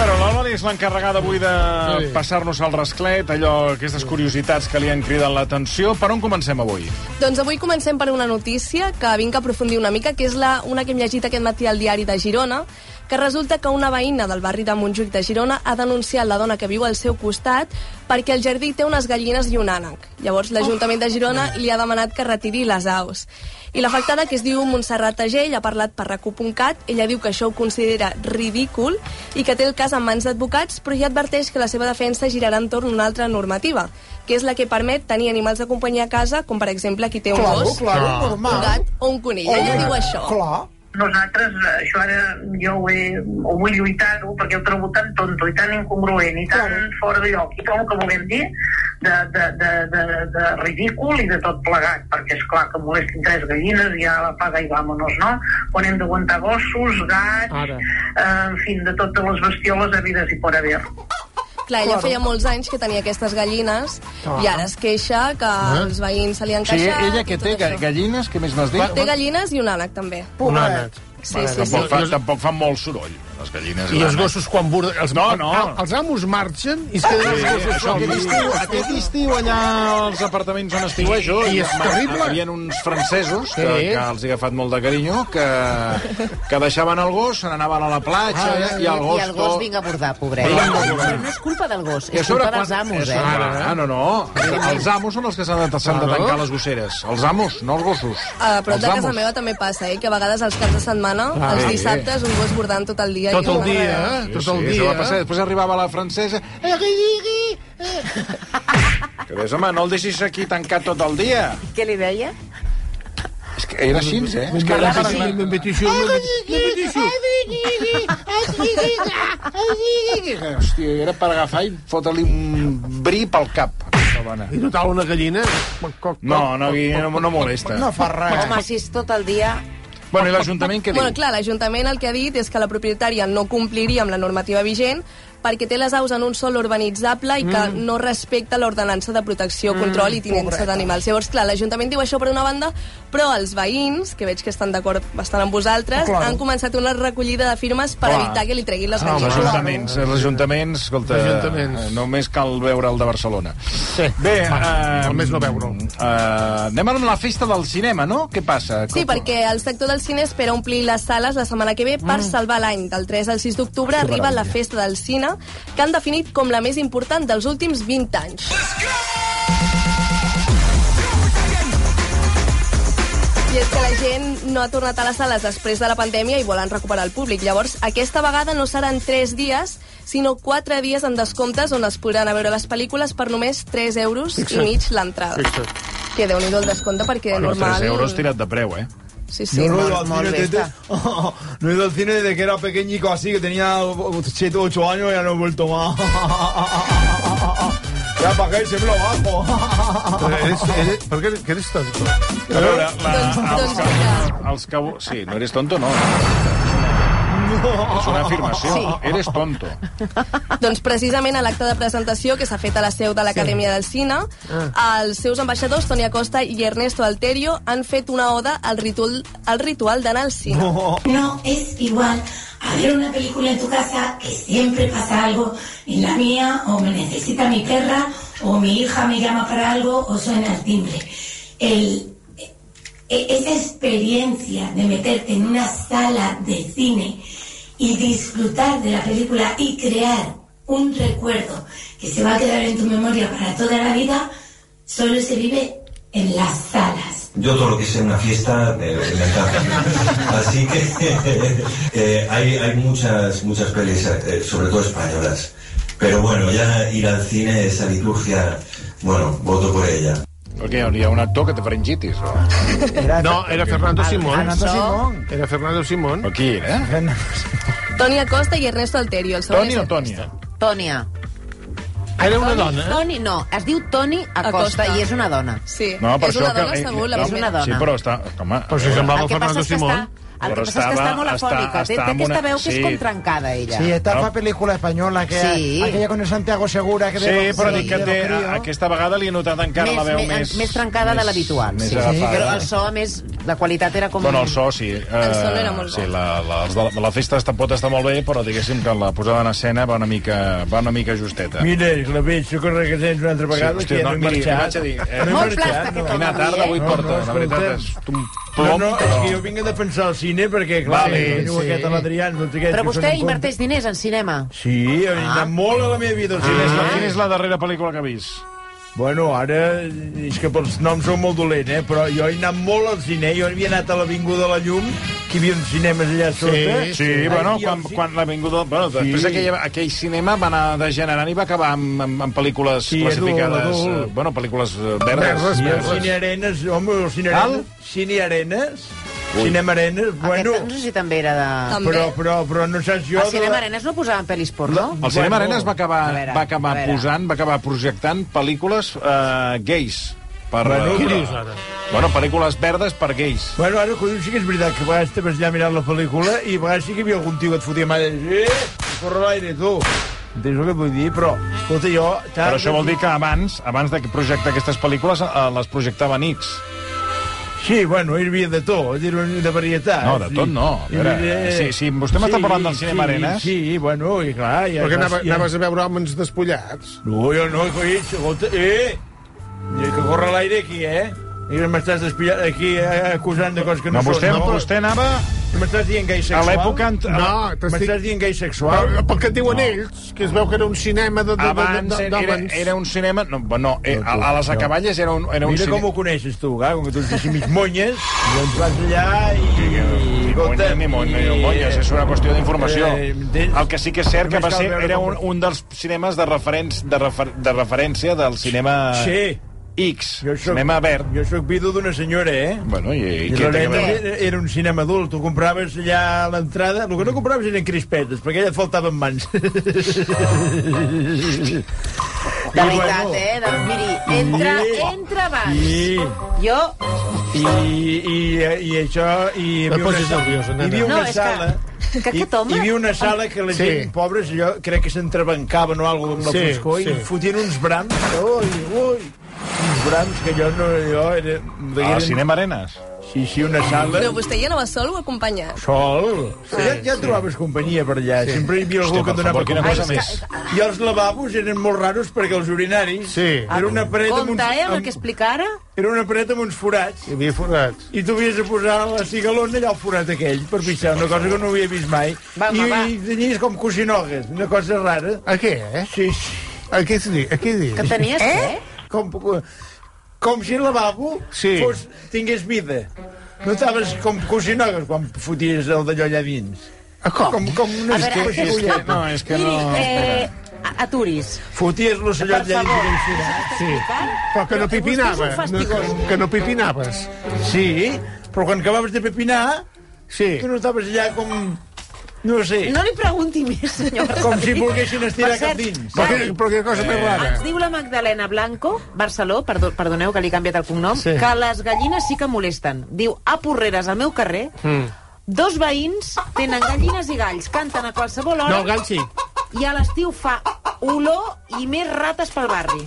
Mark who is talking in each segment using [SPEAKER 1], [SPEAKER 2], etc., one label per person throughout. [SPEAKER 1] Però l'Albani és l'encarregada avui de sí. passar-nos al rasclet, allò, aquestes curiositats que li han cridat l'atenció. Per on comencem avui?
[SPEAKER 2] Doncs avui comencem per una notícia que vinc a aprofundir una mica, que és la, una que hem llegit aquest matí al diari de Girona, que resulta que una veïna del barri de Montjuïc de Girona ha denunciat la dona que viu al seu costat perquè el jardí té unes gallines i un ànec. Llavors l'Ajuntament de Girona li ha demanat que retiri les aus. I l'afectada, que es diu Montserrat Agell, ha parlat per recu.cat. Ella diu que això ho considera ridícul i que té el cas en mans d'advocats, però ja adverteix que la seva defensa girarà entorn a una altra normativa, que és la que permet tenir animals de companyia a casa, com per exemple qui té un
[SPEAKER 3] Claro,
[SPEAKER 4] Doncs
[SPEAKER 2] gos,
[SPEAKER 3] claro,
[SPEAKER 2] un
[SPEAKER 3] normal.
[SPEAKER 2] gat o un conill. Ella diu això.
[SPEAKER 3] Clar.
[SPEAKER 5] nosaltres, eh, això ara jo ho, he, ho vull lluitar-ho perquè ho trobo tan tonto i tan incongruent i tan
[SPEAKER 3] Clar.
[SPEAKER 5] fora de lloc i tot el que vulguem dir de, de, de, de, de ridícul i de tot plegat perquè és clar que molestin tres gallines ja la paga i vámonos, no? Quan hem d'aguantar gossos, gats,
[SPEAKER 6] Ara.
[SPEAKER 5] eh, en fi, de totes les bestioles habides i por haver.
[SPEAKER 2] Clar, ella feia molts anys que tenia aquestes gallines i ara es queixa que els veïns se li han
[SPEAKER 7] O sigui,
[SPEAKER 2] queixat.
[SPEAKER 7] Ah. ella que
[SPEAKER 2] i tot
[SPEAKER 7] té ga-
[SPEAKER 2] això.
[SPEAKER 7] gallines, què més m'has dit?
[SPEAKER 2] Té gallines i un ànec, també.
[SPEAKER 7] Un
[SPEAKER 3] Pobret.
[SPEAKER 7] ànec.
[SPEAKER 2] Sí, sí, sí.
[SPEAKER 1] tampoc, fa, tampoc fan molt soroll, les gallines.
[SPEAKER 6] I els
[SPEAKER 1] l'ànec.
[SPEAKER 6] gossos quan burden... Els,
[SPEAKER 1] No, no.
[SPEAKER 6] Ah, els amos marxen i es queden els
[SPEAKER 1] Aquest
[SPEAKER 6] gossos sols.
[SPEAKER 1] estiu, aquest estiu allà als apartaments on estiuejo
[SPEAKER 6] I és
[SPEAKER 1] hi ha-
[SPEAKER 6] terrible.
[SPEAKER 1] hi havia uns francesos que,
[SPEAKER 6] Sí.
[SPEAKER 1] que els he agafat molt de carinyo que, que deixaven el gos, se n'anaven a la platja ah, i el gos,
[SPEAKER 4] I el gos vinc a bordar, pobret.
[SPEAKER 1] Vinga a
[SPEAKER 4] Però
[SPEAKER 1] bordar.
[SPEAKER 4] no és culpa del gos,
[SPEAKER 1] I a
[SPEAKER 4] és
[SPEAKER 1] sobre
[SPEAKER 4] culpa dels
[SPEAKER 1] quan-
[SPEAKER 4] amos,
[SPEAKER 1] és-
[SPEAKER 4] eh?
[SPEAKER 1] Ah, no, no. Els amos són els que s'han de, s'han de tancar les gosseres. Els amos, no els gossos.
[SPEAKER 4] Ah,
[SPEAKER 2] A prop
[SPEAKER 1] Els
[SPEAKER 2] de Eh,
[SPEAKER 4] tota
[SPEAKER 2] casa
[SPEAKER 1] amos.
[SPEAKER 2] meva també passa, eh, que a vegades els caps de setmana,
[SPEAKER 1] Ah,
[SPEAKER 2] els
[SPEAKER 1] sí.
[SPEAKER 2] dissabtes, un gos bordant tot el dia.
[SPEAKER 6] Tot
[SPEAKER 2] i
[SPEAKER 6] el
[SPEAKER 2] una
[SPEAKER 6] dia,
[SPEAKER 2] vegada-
[SPEAKER 6] eh?
[SPEAKER 1] Sí,
[SPEAKER 6] Tot
[SPEAKER 1] sí,
[SPEAKER 6] el
[SPEAKER 1] Això va
[SPEAKER 6] dia.
[SPEAKER 1] passar. Després arribava la francesa. Eh, gui, gui, gui. Eh. Que dius, home, no el deixis aquí tancat tot el dia.
[SPEAKER 4] Què li deia?
[SPEAKER 1] És que era així, eh? És que era així.
[SPEAKER 6] Me'n metixo, me'n metixo.
[SPEAKER 1] Hòstia, era per agafar i fotre-li un bri pel cap. aquesta dona.
[SPEAKER 6] I total, una gallina... Coc, coc, coc.
[SPEAKER 1] No, no, Gui, no, no molesta.
[SPEAKER 3] No fa res.
[SPEAKER 4] Home, si és tot el dia...
[SPEAKER 1] Bueno, i l'Ajuntament què diu?
[SPEAKER 2] Bueno, clar, l'Ajuntament el que ha dit és que la propietària no compliria amb la normativa vigent perquè té les aus en un sol urbanitzable i que no respecta l'ordenança de protecció, control i tinença d'animals. Llavors, clar, l'Ajuntament diu això per una banda, però els veïns, que veig que estan d'acord bastant amb vosaltres,
[SPEAKER 3] Claro.
[SPEAKER 2] han començat una recollida de firmes per
[SPEAKER 1] Clar.
[SPEAKER 2] evitar que li treguin les
[SPEAKER 1] Els
[SPEAKER 2] gallines.
[SPEAKER 1] ajuntaments, els ajuntaments, escolta,
[SPEAKER 6] Ajuntaments.
[SPEAKER 1] eh, només cal veure el de Barcelona. Sí. Bé, eh,
[SPEAKER 6] Ah, només no veure'l.
[SPEAKER 1] Eh, anem amb la festa del cinema, no? Què passa?
[SPEAKER 2] Sí, perquè el sector del cine espera omplir les sales la setmana que ve per
[SPEAKER 1] Mm.
[SPEAKER 2] salvar l'any. Del 3 al 6 d'octubre arriba la Festa del Cine, que han definit com la més important dels últims 20 anys. I és que la gent no ha tornat a les sales després de la pandèmia i volen recuperar el públic. Llavors, aquesta vegada no seran 3 dies, sinó 4 dies amb descomptes on es podran a veure les pel·lícules per només 3 euros i mig l'entrada. Que Déu-n'hi-do el descompte, perquè
[SPEAKER 1] Bueno,
[SPEAKER 2] normal...
[SPEAKER 1] 3 euros tirat de preu, eh?
[SPEAKER 2] Sí, sí.
[SPEAKER 3] Yo no he ido al
[SPEAKER 4] Molt
[SPEAKER 3] cine
[SPEAKER 4] bé,
[SPEAKER 3] desde-
[SPEAKER 4] está.
[SPEAKER 3] no he ido al cine desde que era pequeñico así, que tenía 7 o 8 años y ya no he vuelto más. ya para que siempre lo bajo.
[SPEAKER 6] Però Eres, eres, per què que eres tonto?
[SPEAKER 1] A veure, la,
[SPEAKER 2] Doncs-
[SPEAKER 1] els,
[SPEAKER 2] doncs
[SPEAKER 1] que,
[SPEAKER 2] vinga.
[SPEAKER 1] els que... Sí, no eres tonto, no. És una afirmació. Eres tonto.
[SPEAKER 2] Doncs precisament a l'acte de presentació que s'ha fet a la seu de l'Acadèmia del Cine,
[SPEAKER 4] Ah.
[SPEAKER 2] els seus ambaixadors, Toni Acosta i Ernesto Alterio, han fet una oda al ritual, al ritual d'anar al cine.
[SPEAKER 8] No es igual a ver una película en tu casa que siempre pasa algo en la mía o me necesita mi perra o mi hija me llama para algo o suena el timbre. El- e- esa experiencia de meterte en una sala de cine y disfrutar de la película y crear un recuerdo que se va a quedar en tu memoria para toda la vida, solo se vive en las salas.
[SPEAKER 9] Yo todo lo que sea una fiesta eh, me encanta. Así que eh, hay, hay muchas, muchas pelis, eh, sobre todo españolas. Pero bueno, ya ir al cine, esa liturgia, bueno, voto por ella.
[SPEAKER 1] Perquè hi ha un actor que té faringitis. O...
[SPEAKER 6] No, era Fernando Simón.
[SPEAKER 3] Fernando Simón.
[SPEAKER 6] Era Fernando Simón.
[SPEAKER 1] Però qui era? Eh?
[SPEAKER 2] Toni Acosta i Ernesto Alterio. El segon
[SPEAKER 1] Toni
[SPEAKER 2] és-
[SPEAKER 1] o Tònia?
[SPEAKER 4] Tònia.
[SPEAKER 6] Era una
[SPEAKER 4] Toni-
[SPEAKER 6] dona? eh?
[SPEAKER 4] Toni, no, es diu Toni Acosta,
[SPEAKER 2] Acosta.
[SPEAKER 4] i és una dona.
[SPEAKER 2] Sí,
[SPEAKER 1] No, per
[SPEAKER 2] és
[SPEAKER 1] això
[SPEAKER 2] una dona
[SPEAKER 1] que...
[SPEAKER 2] segur, la
[SPEAKER 1] no,
[SPEAKER 4] És una dona.
[SPEAKER 1] Sí, però està... Home,
[SPEAKER 6] Però si semblava
[SPEAKER 4] El que passa
[SPEAKER 6] Fernando
[SPEAKER 4] és que està,
[SPEAKER 6] Simón.
[SPEAKER 4] el que
[SPEAKER 1] Però
[SPEAKER 4] passa és que està
[SPEAKER 1] estava-
[SPEAKER 4] molt
[SPEAKER 1] està-
[SPEAKER 4] afònica. Té,
[SPEAKER 1] està
[SPEAKER 4] té
[SPEAKER 1] amb una-
[SPEAKER 4] aquesta veu que
[SPEAKER 1] sí.
[SPEAKER 4] és contrancada, ella.
[SPEAKER 7] Sí, esta
[SPEAKER 1] No.
[SPEAKER 7] es la película española, que
[SPEAKER 4] Sí.
[SPEAKER 7] aquella con el Santiago Segura. Que
[SPEAKER 1] Sí, però dic
[SPEAKER 7] dic
[SPEAKER 1] que té, a- aquesta vegada li he notat encara la veu
[SPEAKER 4] més,
[SPEAKER 1] més...
[SPEAKER 4] més trencada de l'habitual. Sí,
[SPEAKER 1] Més
[SPEAKER 4] sí,
[SPEAKER 1] agafada.
[SPEAKER 4] però el so, a més, la qualitat era com...
[SPEAKER 1] Bueno, el so, sí. El
[SPEAKER 2] so era molt
[SPEAKER 1] sí,
[SPEAKER 2] bo.
[SPEAKER 1] la, la, els de la, la festa està, pot estar molt bé, però diguéssim que la posada en escena va una mica, va una mica justeta.
[SPEAKER 7] Mire, la veig que regresen una altra vegada,
[SPEAKER 1] hòstia,
[SPEAKER 7] que
[SPEAKER 1] no,
[SPEAKER 7] no he
[SPEAKER 1] miri,
[SPEAKER 7] marxat.
[SPEAKER 1] vaig a dir, eh,
[SPEAKER 7] No he
[SPEAKER 4] Molt
[SPEAKER 7] marxat,
[SPEAKER 4] plasta,
[SPEAKER 7] no.
[SPEAKER 4] aquest
[SPEAKER 1] Quina
[SPEAKER 4] home,
[SPEAKER 1] tarda
[SPEAKER 4] avui,
[SPEAKER 1] avui
[SPEAKER 4] eh?
[SPEAKER 1] porta,
[SPEAKER 7] no,
[SPEAKER 1] la veritat
[SPEAKER 7] escoltem.
[SPEAKER 1] és un
[SPEAKER 7] No,
[SPEAKER 1] plom,
[SPEAKER 7] no, és que jo
[SPEAKER 1] però...
[SPEAKER 7] vinc a defensar el cine perquè, clar, eh,
[SPEAKER 1] Vale,
[SPEAKER 7] vale, diu
[SPEAKER 1] sí.
[SPEAKER 7] aquest a l'Adrián, no sé què...
[SPEAKER 4] Però
[SPEAKER 7] que són
[SPEAKER 4] vostè
[SPEAKER 7] en
[SPEAKER 4] inverteix diners en cinema.
[SPEAKER 7] contra. Sí, he anat molt a la meva vida al
[SPEAKER 1] Quina és, la,
[SPEAKER 7] cinema.
[SPEAKER 1] quina és la darrera pel·lícula que ha vist?
[SPEAKER 7] Bueno, ara, eh, és que pels noms són molt dolent, eh? Però jo he anat molt al cine, jo havia anat a l'Avinguda de la Llum, que hi havia uns cinemes allà a sota.
[SPEAKER 1] Sí, bueno,
[SPEAKER 7] Ai,
[SPEAKER 1] quan,
[SPEAKER 7] jo sí.
[SPEAKER 1] quan l'avinguda... Bueno, després
[SPEAKER 7] Sí.
[SPEAKER 1] aquell, aquell cinema va anar degenerant i va acabar amb, amb, amb pel·lícules
[SPEAKER 7] Sí, és
[SPEAKER 1] classificades...
[SPEAKER 7] dur, dur.
[SPEAKER 1] eh, bueno, pel·lícules eh, verdes.
[SPEAKER 7] I el
[SPEAKER 1] verdes.
[SPEAKER 7] Cine Arenas, home, el Cine
[SPEAKER 1] Al?
[SPEAKER 7] Arenas... Cine Arenas?
[SPEAKER 1] Ui.
[SPEAKER 7] Cinema Arenas, bueno...
[SPEAKER 4] Aquest, no sé si també era de... Ah,
[SPEAKER 2] També.
[SPEAKER 7] Però, però, però no saps
[SPEAKER 4] A
[SPEAKER 7] jo... de la-
[SPEAKER 4] Cinema Arenas no posaven pel·lis porno?
[SPEAKER 1] El cinema
[SPEAKER 7] Bueno.
[SPEAKER 1] Arenas va acabar,
[SPEAKER 4] A veure,
[SPEAKER 1] va acabar
[SPEAKER 4] a veure.
[SPEAKER 1] posant, va acabar projectant pel·lícules eh, gais. Per,
[SPEAKER 7] Bueno,
[SPEAKER 1] eh,
[SPEAKER 7] què
[SPEAKER 6] dius ara?
[SPEAKER 1] Bueno, pel·lícules verdes per gais.
[SPEAKER 7] Bueno, ara, collons, sí que és veritat que a vegades estaves allà mirant la pel·lícula i a vegades sí que hi havia algun tio que et fotia mà i deies, eh, corre l'aire, tu. Entens el que vull dir? Però, escolta, jo...
[SPEAKER 1] Però això vol dir que abans, abans de projectar aquestes pel·lícules, eh, les projectava a nits.
[SPEAKER 7] Sí, bueno, hi havia de tot, hi havia de varietat.
[SPEAKER 1] No, de tot no. A veure, sí, sí, vostè m'està parlant del cinema
[SPEAKER 7] sí,
[SPEAKER 1] Arenas?
[SPEAKER 7] Sí, bueno, i clar... Ja,
[SPEAKER 6] Perquè anava,
[SPEAKER 7] ja-
[SPEAKER 6] anaves a veure homes despullats.
[SPEAKER 7] No, jo no, coi, escolta, eh! I Que corre l'aire aquí, eh? I m'estàs despillant aquí eh, acusant de coses que no,
[SPEAKER 1] No, vostè,
[SPEAKER 7] són.
[SPEAKER 1] no, vostè anava
[SPEAKER 7] M'estàs dient gai
[SPEAKER 1] a
[SPEAKER 7] sexual?
[SPEAKER 1] l'època... ant-
[SPEAKER 6] No, t'estic...
[SPEAKER 7] M'estàs dient gai sexual?
[SPEAKER 6] Però, pel que diuen ells, que es veu que era un cinema de- de- de-
[SPEAKER 1] Abans
[SPEAKER 6] de-
[SPEAKER 1] era,
[SPEAKER 6] d'homes.
[SPEAKER 1] era un cinema... No, no eh, a, a les acaballes era un, era un
[SPEAKER 7] Mira com
[SPEAKER 1] cinema...
[SPEAKER 7] ho coneixes tu, eh? com que tu ets així mig monyes, i ens vas allà i...
[SPEAKER 1] Ni monya, ni monya, ni molles, és una qüestió d'informació.
[SPEAKER 7] Eh, entens?
[SPEAKER 1] El que sí que és cert que
[SPEAKER 7] Només
[SPEAKER 1] va
[SPEAKER 7] cal
[SPEAKER 1] ser,
[SPEAKER 7] veure
[SPEAKER 1] era
[SPEAKER 7] com-
[SPEAKER 1] un, un dels cinemes de, referents, de, refer, de referència del cinema
[SPEAKER 7] Sí.
[SPEAKER 1] X,
[SPEAKER 7] Ah, Jo sóc-
[SPEAKER 1] cinema verd.
[SPEAKER 7] Jo sóc vidu d'una senyora, eh?
[SPEAKER 1] Bueno, i, i,
[SPEAKER 7] I
[SPEAKER 1] què té que
[SPEAKER 7] l'Arena
[SPEAKER 1] veure?
[SPEAKER 7] era, era un cinema adult, tu compraves allà a l'entrada... El que no compraves eren crispetes, perquè allà et faltaven mans.
[SPEAKER 4] De veritat, eh? De... Miri, entra, entra abans.
[SPEAKER 7] I,
[SPEAKER 4] Jo...
[SPEAKER 7] i, i, i això... I hi
[SPEAKER 6] No et
[SPEAKER 7] havia una
[SPEAKER 6] posis
[SPEAKER 7] sa-
[SPEAKER 6] nerviosa, nena.
[SPEAKER 7] Hi havia
[SPEAKER 4] No,
[SPEAKER 7] una
[SPEAKER 4] és que-
[SPEAKER 7] sala...
[SPEAKER 4] que
[SPEAKER 7] hi,
[SPEAKER 4] aquest home-
[SPEAKER 7] hi havia una sala que la
[SPEAKER 6] Sí.
[SPEAKER 7] gent pobra, allò, crec que s'entrebancaven o alguna cosa amb la
[SPEAKER 6] Sí,
[SPEAKER 7] foscor
[SPEAKER 6] sí.
[SPEAKER 7] i fotien uns brams. Ui, ui, uns brams que jo no... Jo era,
[SPEAKER 1] Al
[SPEAKER 7] eren-
[SPEAKER 1] cinema Arenas.
[SPEAKER 7] Sí, sí, una sala...
[SPEAKER 2] Però vostè hi anava sol o acompanyat?
[SPEAKER 7] Sol. Sí, ja, ja trobaves companyia per allà. Sí. Sempre hi havia algú
[SPEAKER 1] Hòstia,
[SPEAKER 7] que
[SPEAKER 1] per
[SPEAKER 7] et donava
[SPEAKER 1] favor, quina
[SPEAKER 7] companyia.
[SPEAKER 1] cosa més.
[SPEAKER 7] I els lavabos eren molt raros perquè els orinaris...
[SPEAKER 6] Sí.
[SPEAKER 7] Era una paret amb uns...
[SPEAKER 4] Compte, eh, amb el
[SPEAKER 7] Amb,
[SPEAKER 4] que explica ara.
[SPEAKER 7] era una paret amb uns forats.
[SPEAKER 6] Hi havia forats.
[SPEAKER 7] I tu havies de posar la cigalona allà al forat aquell per pixar, una cosa que no havia vist mai.
[SPEAKER 4] Va,
[SPEAKER 7] I,
[SPEAKER 4] home, va.
[SPEAKER 7] I tenies com coixinogues, una cosa rara.
[SPEAKER 6] A què, eh?
[SPEAKER 7] Sí, sí.
[SPEAKER 6] A què es di? A què dius?
[SPEAKER 4] Que tenies, eh?
[SPEAKER 7] Com, com si el lavabo
[SPEAKER 6] Sí.
[SPEAKER 7] fos, tingués vida. No estaves com coixinogues quan foties el d'allò allà dins.
[SPEAKER 6] A com?
[SPEAKER 7] Com, com
[SPEAKER 4] A
[SPEAKER 7] unes
[SPEAKER 4] veure,
[SPEAKER 7] coixes.
[SPEAKER 1] És que, no, és que no...
[SPEAKER 4] Miri,
[SPEAKER 1] espera.
[SPEAKER 4] eh, a- aturis.
[SPEAKER 7] Foties l'ocellot
[SPEAKER 4] Per
[SPEAKER 7] allà
[SPEAKER 4] favor.
[SPEAKER 7] dins. del forat.
[SPEAKER 6] Sí.
[SPEAKER 4] Però
[SPEAKER 6] Però que no
[SPEAKER 4] vostè és un
[SPEAKER 6] pipinava. No,
[SPEAKER 4] fastigós.
[SPEAKER 6] que, que no pipinaves.
[SPEAKER 7] Sí, però quan acabaves de pepinar,
[SPEAKER 6] Sí.
[SPEAKER 7] tu no estaves allà com... No sé.
[SPEAKER 4] No li pregunti més, senyor
[SPEAKER 7] Com si
[SPEAKER 4] Marcelí.
[SPEAKER 7] volguessin estirar
[SPEAKER 4] Per cert,
[SPEAKER 7] cap dins.
[SPEAKER 6] Però, que, però que cosa més rara.
[SPEAKER 4] Ens Eh, diu la Magdalena Blanco, Barceló, perdó, perdoneu que li he canviat el cognom,
[SPEAKER 6] Sí.
[SPEAKER 4] sí. que les gallines sí que molesten. Diu, a Porreres, al meu carrer, mm. dos veïns tenen gallines i galls, canten a qualsevol hora
[SPEAKER 6] No, gall sí.
[SPEAKER 4] i a l'estiu fa olor i més rates pel barri.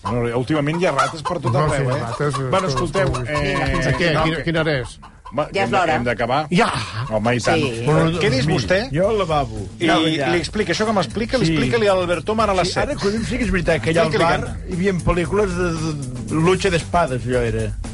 [SPEAKER 1] Bueno, últimament hi ha rates per tot
[SPEAKER 6] No,
[SPEAKER 1] arreu,
[SPEAKER 6] sí,
[SPEAKER 1] eh?
[SPEAKER 6] rates, eh,
[SPEAKER 1] bueno,
[SPEAKER 6] tot-
[SPEAKER 1] escolteu...
[SPEAKER 6] tot-
[SPEAKER 1] Eh,
[SPEAKER 6] A què?
[SPEAKER 1] no,
[SPEAKER 6] Quina, quina hora és?
[SPEAKER 1] Va,
[SPEAKER 4] Ja és
[SPEAKER 1] hem-
[SPEAKER 4] l'hora.
[SPEAKER 1] Hem d'acabar.
[SPEAKER 6] Ja!
[SPEAKER 1] Home, i tant.
[SPEAKER 4] Sí.
[SPEAKER 1] Però Què dius
[SPEAKER 7] Mira,
[SPEAKER 1] vostè?
[SPEAKER 7] Jo al lavabo.
[SPEAKER 1] I
[SPEAKER 7] Anava allà.
[SPEAKER 1] li explica, això que m'explica, li
[SPEAKER 7] Sí.
[SPEAKER 1] explica-li a l'Albertó Mar a les
[SPEAKER 7] Sí, ara,
[SPEAKER 1] 7.
[SPEAKER 7] collons, sí que és veritat que allà al
[SPEAKER 1] Explica-li,
[SPEAKER 7] bar
[SPEAKER 1] canta.
[SPEAKER 7] hi havia pel·lícules de, de, de lucha d'espades, allò era.